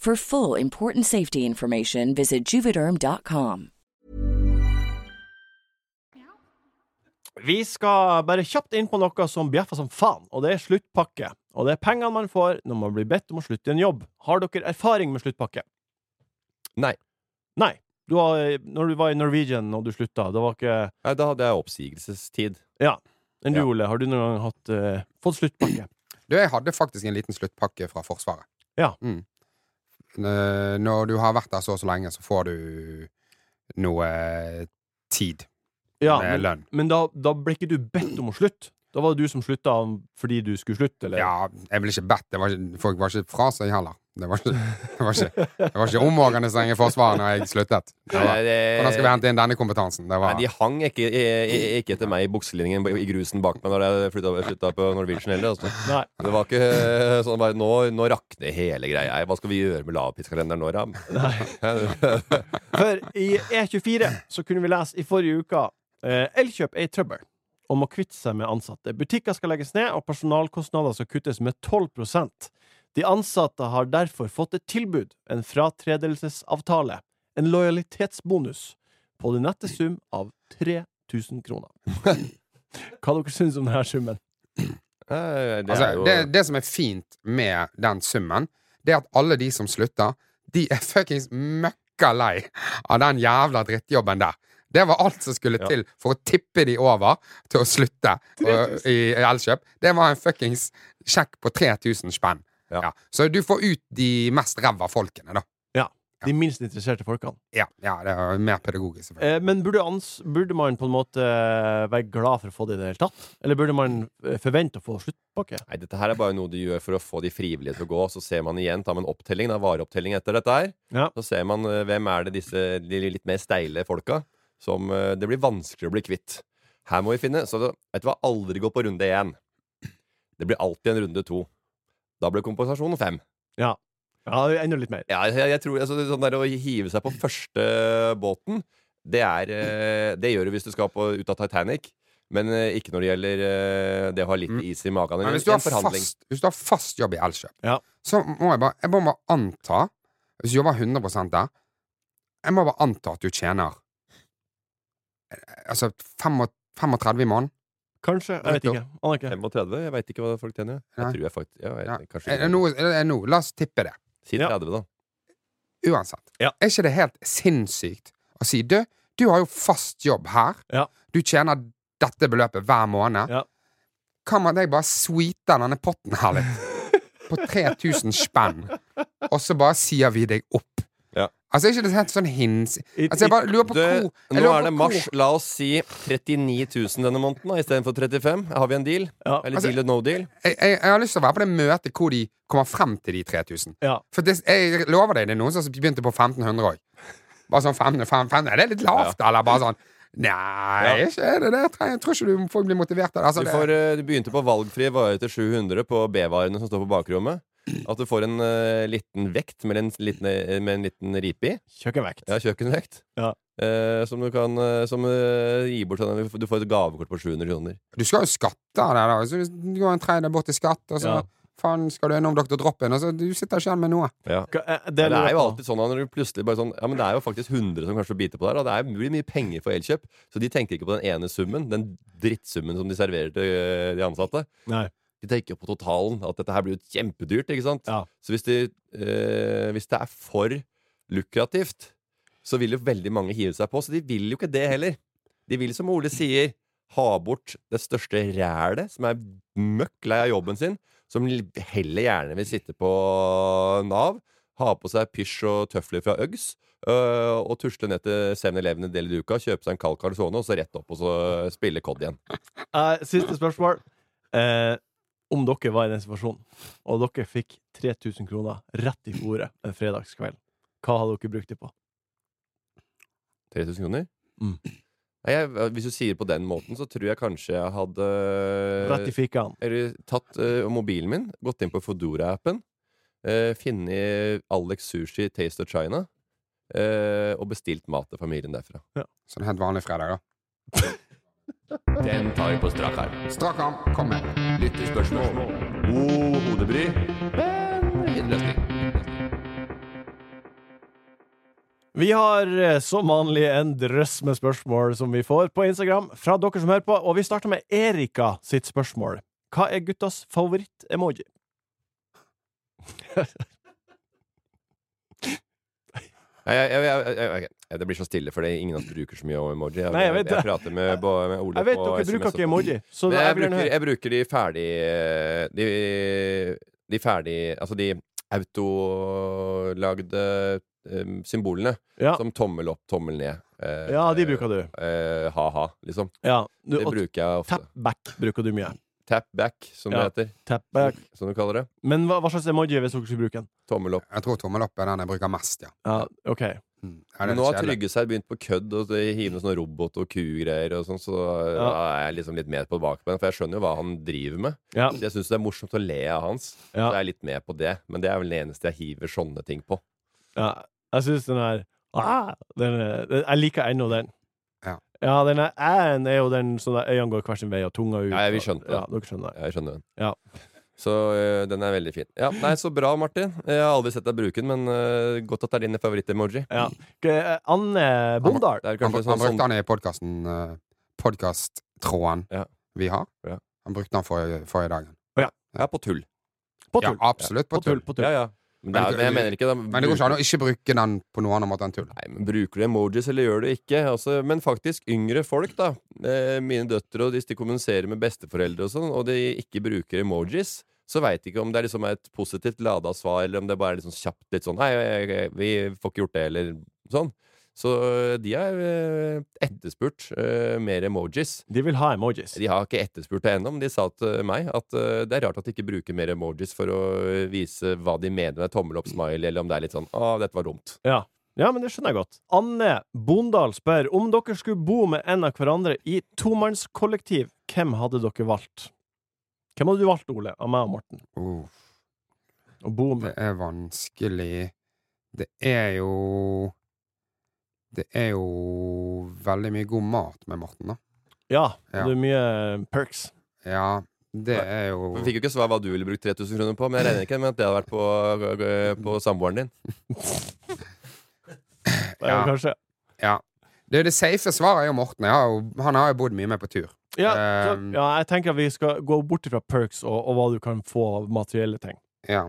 For full important safety information, visit juvederm.com. Vi skal bare kjapt inn på noe som bjeffer som faen, og det er sluttpakke. Og det er pengene man får når man blir bedt om å slutte i en jobb. Har dere erfaring med sluttpakke? Nei. Nei. Du har, når du var i Norwegian og du slutta, det var ikke Nei, da hadde jeg oppsigelsestid. Ja. Enn du, Ja. Ole, har du noen gang hatt, eh, fått sluttpakke? Du, jeg hadde faktisk en liten sluttpakke fra Forsvaret. Ja. Mm. Eh, Når du har vært der så og så lenge, så får du noe øh, tid Ja, med men, lønn. men da, da ble ikke du bedt om å slutte. Da var det du som slutta fordi du skulle slutte, eller? Ja, jeg ville ikke bedt. Det var ikke, folk var ikke fra seg heller. Det var ikke, det var ikke, det var ikke omorganisering i Forsvaret når jeg sluttet. Det var, Nei, det- hvordan skal vi hente inn denne kompetansen? Det Nei, var, de hang ikke, eh, ikke etter meg i bukselinjen i grusen bak meg når jeg flytta, flytta på Norwegian heller. Altså. Nei. Det var ikke eh, sånn bare Nå, nå rakner hele greia her. Hva skal vi gjøre med lavpriskalenderen nå, da? For i E24 så kunne vi lese i forrige uke eh, Elkjøp er i trøbbel og må kvitte seg med ansatte. Butikker skal legges ned, og personalkostnader skal kuttes med 12 De ansatte har derfor fått et tilbud, en fratredelsesavtale, en lojalitetsbonus, på den nette sum av 3000 kroner. Hva dere syns om denne summen? Eh, Det er altså, jo det, det som er fint med den summen, det er at alle de som slutter, de er fuckings møkka lei av den jævla drittjobben der. Det var alt som skulle Ja. til for å tippe de over til å slutte og, i Elkjøp. Det var en fuckings sjekk på 3000 spenn. Ja. Ja. Så du får ut de mest ræva folkene, da. De minst interesserte folkene. Ja, ja det er mer pedagogisk, selvfølgelig. Eh, men burde, ans burde man på en måte eh, være glad for å få det i det hele tatt? Eller burde man eh, forvente å få sluttpakke? Nei, dette her er bare noe de gjør for å få de frivillige til å gå. Så ser man igjen, tar man opptelling, da, vareopptelling etter dette her. Ja. Så ser man eh, hvem er det disse de litt mer steile folka som eh, det blir vanskeligere å bli kvitt. Her må vi finne Så det- vet du hva, aldri gå på runde én. Det blir alltid en runde to. Da blir kompensasjonen fem. Ja, enda litt mer. Ja, jeg, jeg tror altså, det er sånn der Å hive seg på første eh, båten, det, er, eh, det gjør du hvis du skal på, ut av Titanic. Men eh, ikke når det gjelder eh, det å ha litt Mm. is i magen. Men hvis du, En har forhandling. fast, hvis du har fast jobb i Elkjøp, Ja. så må jeg bare Jeg må bare anta Hvis du jobber 100 der, jeg må bare anta at du tjener eh, Altså 35 i måneden. Kanskje. Jeg vet ikke. Aner ikke. 35? Jeg veit ikke hva folk tjener. Nei. Jeg tror jeg faktisk ja, jeg, Ja. kanskje, Er det noe, er det noe? La oss tippe det. Si Ja. 30, da. Uansett. Ja. Er ikke det helt sinnssykt å si Du, du har jo fast jobb her. Ja. Du tjener dette beløpet hver måned. Ja. Kan man deg bare sweete denne potten her litt? På 3000 spenn. Og så bare sier vi deg opp. Ja. Altså, er ikke det helt sånn hins... I- Altså, jeg bare lurer på Du, hvor jeg nå lurer er det på mars. hvor- La oss si 39 000 denne måneden da, istedenfor 35. Har vi en deal? Ja. Eller Altså- deal or no deal? Jeg, jeg, jeg har lyst til å være på det møtet hvor de kommer frem til de 3000. Ja. For det, jeg lover deg, det er noen som begynte på 1500 òg. Bare sånn 15, 15, Er det litt lavt, eller bare sånn Nei, ikke er det det. Jeg tror- Jeg tror ikke du folk blir motivert av det. Altså, Du, det får, eh, du begynte på valgfrie varer til 700 på B-varene som står på bakrommet. At du får en eh, liten vekt med en liten, eh, med en liten ripe i. Kjøkkenvekt. Ja, kjøkkenvekt. Ja. Eh, som du kan eh, Som eh, gir bort sånn Du får et gavekort på 700 kroner. Du skal jo skatte av det, da. Så hvis du går en tredjedel bort til skatt, og så Ja. faen skal du innom Dr. Droppen, og så du sitter ikke igjen med noe. Ja. Hva- eh, Det, lurer er jeg jo på. alltid sånn at når du plutselig bare sånn Ja, men det er jo faktisk 100 som kanskje biter på der, og det er jo mye- mye penger for Elkjøp, så de tenker ikke på den ene summen, den drittsummen som de serverer til eh, de ansatte. Nei. De tenker på totalen, at dette her blir jo kjempedyrt, ikke sant? Ja. Så hvis, de, eh, hvis det er for lukrativt, så vil jo veldig mange hive seg på. Så de vil jo ikke det heller. De vil, som Ole sier, ha bort det største rælet, som er møkk lei av jobben sin, som heller gjerne vil sitte på Nav, ha på seg pysj og tøfler fra Uggs, øh, og tusle ned til 7-Eleven en del i uka, kjøpe seg en kald calzone, og så rett opp og så spille COD igjen. Eh, siste spørsmål. Eh, om dere var i den situasjonen, og dere fikk 3000 kroner rett i bordet en fredagskveld, Hva hadde dere brukt det på? 3000 kroner? Mm. Nei, jeg, hvis du sier på den måten, så tror jeg kanskje jeg hadde eh, Rett i fikaen. eller, tatt eh, mobilen min, gått inn på Fodora-appen, uh, funnet Alex Sushi Taste of China eh, og bestilt mat til familien derfra. Sånn helt vanlig fredag, da. Den tar vi på strak arm. Strak arm, kom med. Lyttespørsmål. God hodebry, men fin løsning. Vi har eh, som vanlig en drøss med spørsmål som vi får på Instagram fra dere som hører på, og vi starter med Erika sitt spørsmål. Hva er guttas favoritt-emoji? Nei, jeg, jeg, jeg, jeg, ok. Det blir så stille fordi ingen av oss bruker så mye emoji. Jeg, Nei, jeg vet det. prater med, bo- med Ole Jeg vet på dere SMS bruker og- sånn. ikke emoji, så Men da- jeg, jeg vil gjerne bruker, høre. jeg bruker de ferdig De, de ferdig Altså de autolagde em, symbolene. Ja, Som tommel opp, tommel ned. eh, ja de bruker du. eh, ha-ha, liksom. Ja. Du, Det og bruker jeg ofte. tap back bruker du mye. Tap back, som Ja. det heter. Tap back. Som du kaller det. Mm. Men hva, hva slags emoji hvis dere skulle bruke den? Tommel opp. Jeg tror tommel opp er den jeg bruker mest, ja. Ja, OK. Mm. ja det Men er nå har kjedelig. Trygge seg begynt på kødd og det hiver noe sånn robot og kugreier og sånn, så da er jeg liksom litt med på bakbeina, for jeg skjønner jo hva han driver med. Ja. Jeg syns det er morsomt å le av hans, så Ja. jeg er litt med på det. Men det er vel det eneste jeg hiver sånne ting på. Ja, jeg syns den er ah, den er- den- Jeg liker ennå den. Ja. ja den er æ-en er jo den sånn der øynene går hver sin vei og tunga ut. Ja, vi skjønte det. Ja, dere skjønner det. Jeg skjønner den. Ja. Så øh, den er veldig fin. Ja, nei, Så bra, Martin. Jeg har aldri sett deg bruke den, men øh, godt at det er din favoritt-emoji. Ja. Ok, eh, Anne Bondal. Det er Han, kanskje br- han sånn, sånn brukte den i podkasten uh, Podkasttråden Ja. vi har. Ja. Han brukte den forrige, forrige dagen. Ja, på tull. På Ja, tull. absolutt på tull. På tull. Ja, ja. Men, det er, men jeg mener ikke da, Men det går ikke an bruker, å ikke bruke den på noe annet måte enn tull. nei, men bruker du emojis, eller gjør du ikke? Altså, men faktisk, yngre folk, da. Eh, mine døtre, og hvis de kommuniserer med besteforeldre og sånn, og de ikke bruker emojis, så veit de ikke om det er liksom et positivt lada svar, eller om det bare er liksom kjapt litt sånn Nei, jeg- jeg- vi får ikke gjort det, eller sånn. Så øh, de har øh, etterspurt øh, mer emojis. De vil ha emojis. De har ikke etterspurt det ennå, men de sa til meg at eh, det er rart at de ikke bruker mer emojis for å vise hva de mener med tommel opp smile, eller om det er litt sånn 'Å, dette var dumt'. Ja. ja, men det skjønner jeg godt. Anne Bondal spør om dere skulle bo med en av hverandre i tomannskollektiv, hvem hadde dere valgt? Hvem hadde du valgt, Ole, av meg og Morten, Uh, å bo med? det er vanskelig. Det er jo Det er jo veldig mye god mat med Morten, da. Ja, Ja. det er mye eh, perks. Ja, det er jo Vi fikk jo ikke svar hva du ville brukt 3000 kroner på, men jeg regner ikke med at det hadde vært på, eh, på samboeren din. Ja. Kanskje. Ja. Det, det safe svaret er jo Morten. Jeg har jo, han har jo bodd mye med på tur. Ja, så, Ehm. Um, ja, jeg tenker at vi skal gå bort fra perks og, og hva du kan få av materielle ting. Ja,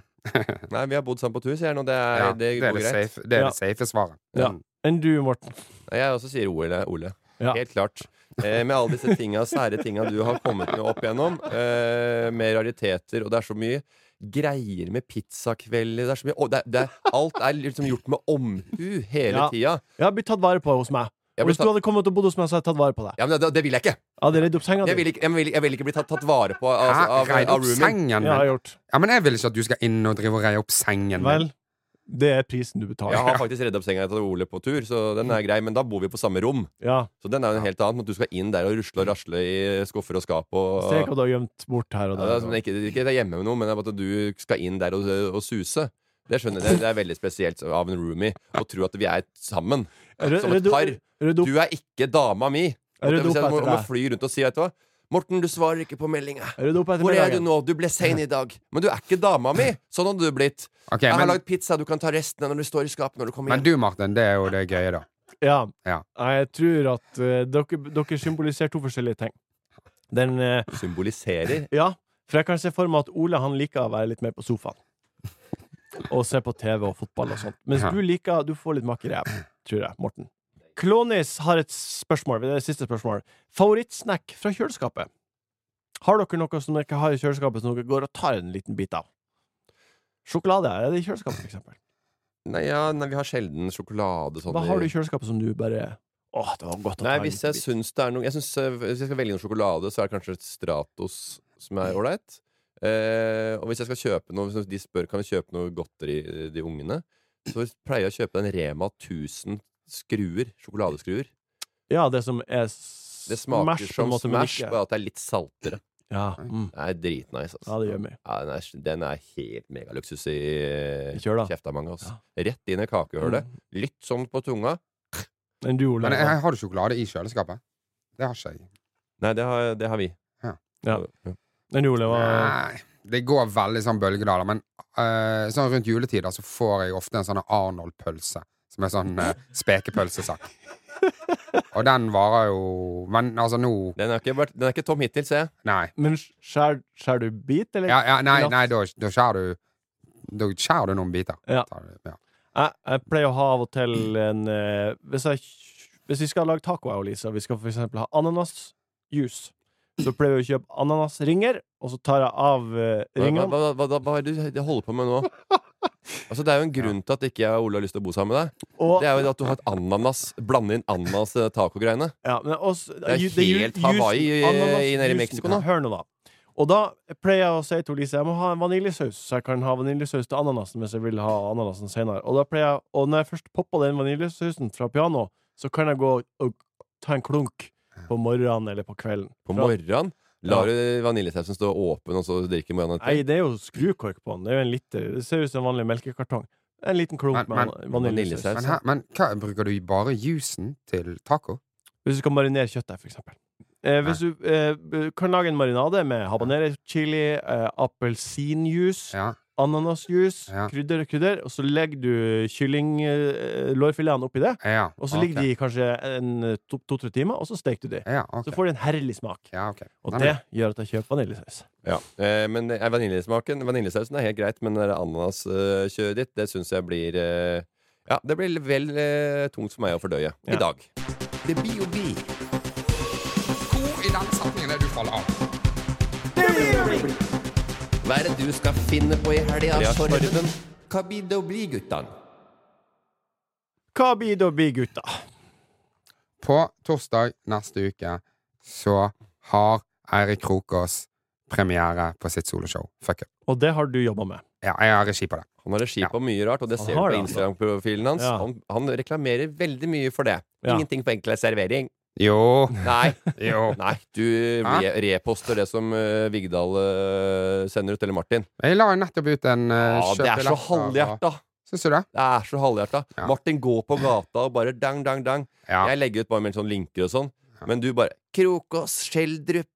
Nei, vi har bodd sammen på tur, sier jeg nå. Det, er, ja det det, er går det, greit. safe, det er Ja. det safe svaret. Ja. Mm. Enn du, Morten. Nei, Jeg også sier Ole. Ole. Ja. Helt klart. Eh, med alle disse tinga, sære tinga du har kommet med opp igjennom, eh, med rariteter, og det er så mye greier med pizzakvelder det er så mye, og det, det, Alt er liksom gjort med omhu hele Ja. tida. Jeg har blitt tatt vare på hos meg. Jeg Og ble hvis du tatt, hadde kommet og bodd hos meg, så hadde jeg tatt vare på deg. ja, men det, det vil jeg ikke! Jeg hadde redd opp senga Jeg di. vil ikke, jeg vil, jeg vil ikke bli tatt, tatt vare på av- Hæ? Altså, av, Rei av, opp roomien. sengen Ja, min? jeg har gjort. Ja, men jeg vil ikke at du skal inn og drive og reie opp sengen Vel, min. det er prisen du betaler. Jeg har faktisk redda opp senga til Ole på tur, så den er grei. Men da bor vi på samme rom. Ja. Så den er jo en helt annen. At du skal inn der og rusle og rasle i skuffer og skap og Se hva du har gjemt bort her og Ja, det er der. sånn, ikke, ikke det er hjemme med noen, men at du skal inn der og, og suse. Det skjønner jeg, det, det er veldig spesielt av en roomie å tro at vi er sammen. Rød- Som et redd- par. Redd Du opp, er ikke dama mi! At redd jeg opp må, si- jeg må, etter må deg. fly rundt og si, vet du hva Morten, du svarer ikke på meldinga. Redd opp etter Hvor er du middagen. nå? Du ble sein i dag. Men du er ikke dama mi! Sånn hadde du blitt. Ok, Jeg har men, lagd pizza, du kan ta resten når du står i skapet når du kommer men hjem. du, Martin, det er jo det gøye, da. Ja. Ja. Jeg tror at eh, dere, dere symboliserer to forskjellige ting. Den eh, symboliserer Ja, for jeg kan se for meg at Ole han liker å være litt mer på sofaen. Og se på TV og fotball og sånt. Mens Ja. du liker Du får litt makk i ræv, tror jeg, Morten. Klonis har et spørsmål. Det er det siste spørsmål. Favorittsnack fra kjøleskapet? Har dere noe som dere ikke har i kjøleskapet, som dere går og tar en liten bit av? Sjokolade er det i kjøleskapet, for eksempel. Nei, ja, nei, vi har sjelden sjokolade sånn Hva i- har du i kjøleskapet som du bare Åh, det var godt å ta Nei, en hvis liten jeg bit. syns det er noe jeg synes, eh, Hvis jeg skal velge noe sjokolade, så er det kanskje Stratos som er ålreit. Eh, og hvis jeg skal kjøpe noe Hvis de spør kan vi kjøpe noe godteri, de ungene, Så pleier jeg å kjøpe den Rema 1000 skruer, sjokoladeskruer. Ja, det som er s- Det smaker smash, på en som måte, men Smash, ikke- bare at det er litt saltere. Ja, mm. Det er dritnice, altså. ja, det gjør meg. Ja, den, er, den er helt megaluksus i, I kjøla. kjefta mange. Altså. Rett inn i kakehullet. Mm. Litt sånn på tunga. Men du, Ole, Men jeg, har du sjokolade i kjøleskapet? Det har ikke jeg. Nei, det har, det har vi. ja. Men du, Ole hva- Nei, det går veldig sånn bølgedaler, men eh, sånn rundt juletider så får jeg ofte en sånn Arnold-pølse. Som er sånn eh, spekepølsesak. Og den varer jo Men altså, nå Den er ikke, vært- den er ikke tom hittil, ser jeg. Nei. Men skjærer skjær du bit, eller? Ja, ja, nei, Laps. nei da, da skjærer du Da skjærer du noen biter. Ja. Tar du- ja. Jeg, jeg pleier å ha av og til en eh, hvis, jeg, hvis vi skal lage taco, jeg og Lisa, vi skal for eksempel ha ananasjuice, så pleier vi å kjøpe ananasringer, og så tar jeg av eh, Hva, hva, ringene. hva, hva, hva, hva er det du holder på med nå? Altså, det er jo en grunn til at ikke jeg og Ole har lyst til å bo sammen med deg. Og, Det er jo at du har et ananas Blande inn ananas i taco-greiene. ja, men også, er ju- ju- helt juicen- Hawaii i- ananasjuicen. i- nede i Mexico nå. Hør nå, da. Og da pleier jeg å si til Lise jeg må ha en vaniljesaus, så jeg kan ha vaniljesaus til ananasen hvis jeg vil ha ananasen senere. Og, da pleier jeg, og når jeg først popper den vaniljesausen fra pianoet, så kan jeg gå og ta en klunk på morgenen eller på kvelden. På Fra- morgenen lar du vaniljesausen stå åpen, og så drikker man den. Nei, det er jo skrukork på den. Det er jo en liter. Det ser ut som en vanlig melkekartong. En liten klump Men- med vaniljesaus. vaniljesaus. Men, her, men hva, bruker du bare juicen til taco? Hvis du skal marinere kjøttet, for eksempel. Eh, hvis du eh, b- kan lage en marinade med habanero chili, eh, appelsinjuice, Ja. ananasjuice, Ja. krydder og krydder, og så legger du kyllinglårfiletene eh, lårfiletene oppi det, ja. og så ok. ligger de i kanskje en to- to-tre timer, og så steker du de. Ja, ok. Så får de en herlig smak. Ja, ok. Og Nei, det men- gjør at jeg kjøper vaniljesaus. Ja. Eh, men eh, vaniljesmaken Vaniljesausen er helt greit, men det der ananaskjøret ditt, det syns jeg blir eh, Ja, det blir vel eh, tungt for meg å fordøye Ja. i dag. Det blir jo bi. Hvor i den setningen er du faller av? Hva er det du skal finne på i helga, Torben? Hva blir det å bli, guttan? Hva blir det å bli, gutta? På torsdag neste uke så har Eirik Krokås premiere på sitt soloshow. Fuck it. Og det har du jobba med. Ja, jeg har regi på det. Han har regi Ja. på mye rart, og det Han ser du har på det, altså. Instagram-profilen hans. Ja. Han, han reklamerer veldig mye for det. Ja. Ingenting på enkel servering. Jo. Nei. jo. Nei, du Hæ? re reposter det som eh, Vigdal eh, sender ut, eller Martin. Jeg la jo nettopp ut en uh, Ja, det er så halvhjerta! Syns du det? Det er så halvhjerta. Ja. Martin går på gata og bare dang, dang, dang. Ja. Jeg legger ut bare med sånn linker og sånn, men du bare Krokås, Skjeldrup,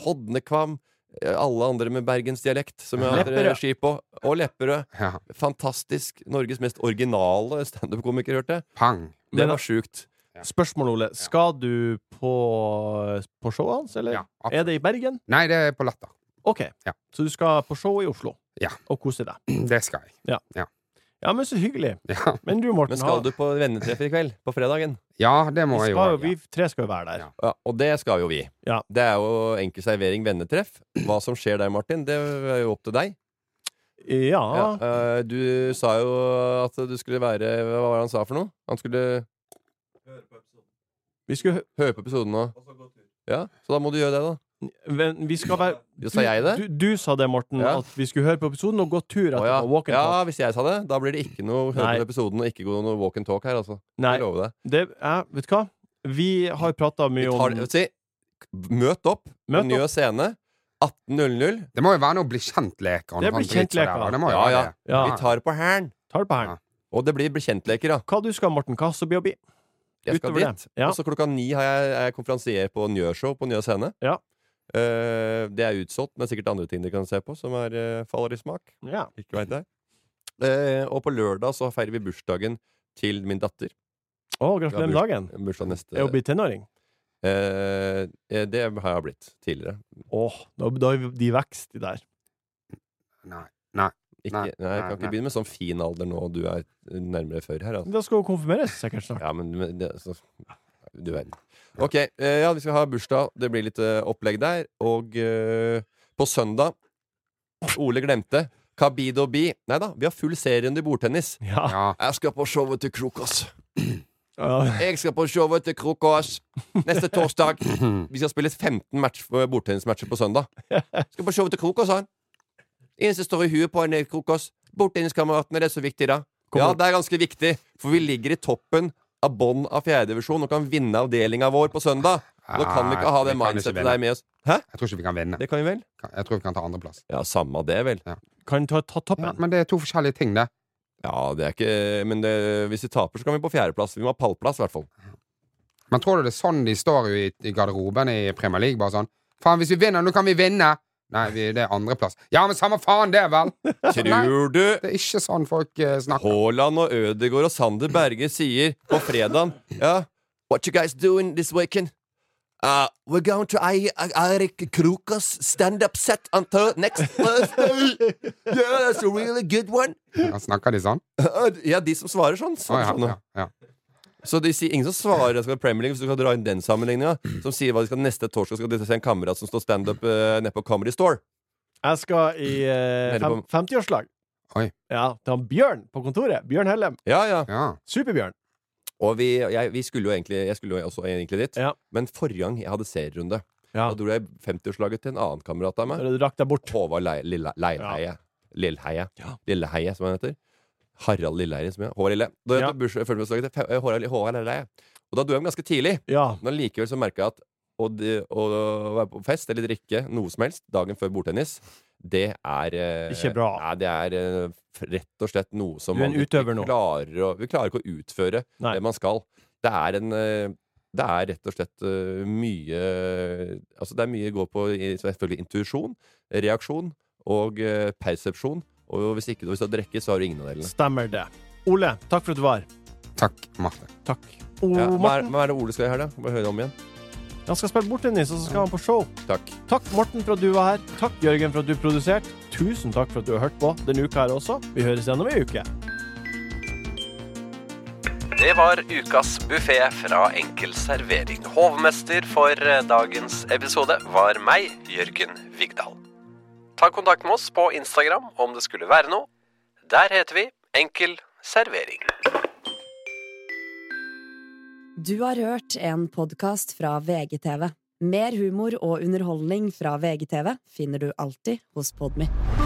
Hodnekvam, eh, alle andre med bergensdialekt som jeg har Lepperød. regi på, og Lepperød. ja. Fantastisk. Norges mest originale standup-komiker, hørte jeg. Pang. Det Men- var sjukt. Spørsmål, Ole. Skal du på, på showet hans, eller? Ja, absolutt. er det i Bergen? Nei, det er på latter. OK. Ja. Så du skal på show i Oslo Ja. og kose deg. Det skal jeg. Ja, men så hyggelig. Ja, Men du, Morten, Men skal har- du på vennetreff i kveld? På fredagen? ja det må vi, jeg jo. skal, jo- også, vi ja. tre skal jo være der. Ja. Ja, og det skal jo vi. Ja. Det er jo enkel servering, vennetreff. Hva som skjer der, Martin, det er jo opp til deg. Ja. Ja, eh, du sa jo at du skulle være Hva var det han sa for noe? Han skulle Vi, skulle, høre på episoden nå. Ja, så da må du gjøre det, da. men vi skal være Jo, sa jeg det? Du, du, sa det, Morten, Ja. at vi skulle høre på episoden og gå tur Å, etterpå. ja. Walk and ja, talk. hvis jeg sa det, da blir det ikke noe høre Nei. på episoden og ikke gå noe walk and talk her, altså. Nei, Jeg lover deg. det er Vet du hva? Vi har prata Vi mye tar, om si, møt opp på Møt Njø opp. scene. 18.00. Det må jo være noe bli kjent-leker. Det blir kjent-leker. Det må jo Ja, være ja. det. Ja. Vi tar på hælen. Tar det på hælen. Ja. Og det blir bekjentleker, da. Hva du skal, Morten? Hva så blir å bli? Jeg skal Utover det, dit. ja. Og så klokka ni har jeg, er jeg konferansier på Njø-show på Njø scene. Ja. Eh, det er utsolgt, men sikkert andre ting dere kan se på som er, eh, faller i smak. Ja. Ikke vet jeg. Eh, og på lørdag så feirer vi bursdagen til min datter. Å, gratulerer med dagen. Bursdag neste Er å bli tenåring? eh, eh, Det har jeg blitt tidligere. Åh, da, da er de vekst de der. Nei. Nei. Ikke, Nei, nei, jeg kan nei, ikke nei. begynne med sånn fin alder nå, du er nærmere før her. Altså. Da skal hun konfirmeres sikkert snart. Ja, men men det, så, Du verden. Ok, eh, ja, vi skal ha bursdag. Det blir litt eh, opplegg der. Og eh, på søndag Ole glemte. Kabido Bi. Nei da, vi har full serierunde i bordtennis. Ja. Ja. Jeg skal på showet til Krokås. Ja. Jeg skal på showet til Krokås neste torsdag. Vi skal spille 15 match, eh, bordtennismatcher på søndag. Skal på showet til Krokås, han. Eneste som står i huet på en Krokås. Bordtenniskameratene, det er så viktig, da. Kommer- Ja, det er ganske viktig, for vi ligger i toppen av bånn av fjerdedivisjon og kan vinne avdelinga vår på søndag. Og da kan vi ikke ha det Nei, vi Ah, kan ikke mindsettet vinne. der med oss. Hæ? Jeg tror ikke vi kan vinne. Det kan vi vel? Jeg tror vi kan ta andreplass. Ja, samme det, vel. Kan ta, ta toppen. Ja, men det er to forskjellige ting, det. Ja, det er ikke Men det, hvis vi taper, så kan vi på fjerdeplass. Vi må ha pallplass, i hvert fall. Men tror du det er sånn de står jo i, i garderoben i Premier League? Bare sånn Faen, hvis vi vinner, nå kan vi vinne! Nei, vi, det er andreplass. Ja, men samme faen det, vel! Nei, Tror du det er ikke sånn folk eh, snakker. Haaland og Ødegaard og Sander Berge sier på fredagen Ja, what you guys doing this weekend? Uh, we're going to I Eirik Krokos stand-up set until next Thursday. Yeah, that's a really good one. Ja, snakker de sånn? Uh, ja, de som svarer sånn. Å, sånn, ja, sånn. ja, ja. Så de sier, ingen som svarer skal Premier League, hvis du skal dra inn den sammenligninga, Mm. som sier hva de skal neste torsdag skal de se en kamerat som står standup uh, nede på Comedy Store. Jeg skal i eh, Nede fem, på- 50-årslag. Oi. Ja, til han Bjørn på kontoret. Bjørn Hellem. Ja, ja. ja. Superbjørn. Og vi, jeg, vi skulle jo egentlig, jeg skulle jo også egentlig dit, Ja. men forrige gang jeg hadde serierunde, Ja. da dro jeg 50-årslaget til en annen kamerat av meg. Du rakk deg bort. Håvard Lei- Lille- Leilheie. Lilleheie. Lilleheie, som han heter. Harald Lilleheie, som jeg Håvard Lille. Da Ja. het bursdagsdagen til fe- eh, Håvard Håvard Lilleheie. Og da dro jeg hjem ganske tidlig. Ja. Men likevel så merka jeg at å, d- å være på fest eller drikke noe som helst dagen før bordtennis, det er eh, Ikke bra. Nei, det er eh, f- rett og slett noe som Du er en man ikke utøver nå. Klarer å, vi klarer ikke å utføre Nei. det man skal. Det er en eh, det er rett og slett eh, mye Altså det er mye går på i- selvfølgelig intuisjon, reaksjon og eh, persepsjon. Og hvis ikke hvis du har drukket, så har du ingen av delene. Stemmer det. Ole, takk for at du var. Takk, Marte. Takk. Og Ja, hva, er, Morten, hva er det Ole skal gjøre her, da? Bare høre om igjen. han skal spille bordtennis, og så skal han på show. Takk. Takk, Morten, for at du var her. Takk, Jørgen, for at du produserte. Tusen takk for at du har hørt på denne uka her også. Vi høres igjen om ei uke. Det var ukas buffé fra Enkel servering. Hovmester for eh, dagens episode var meg, Jørgen Vigdal. Ta kontakt med oss på Instagram om det skulle være noe. Der heter vi Enkel servering. Du har hørt en podkast fra VGTV. Mer humor og underholdning fra VGTV finner du alltid hos Podmy.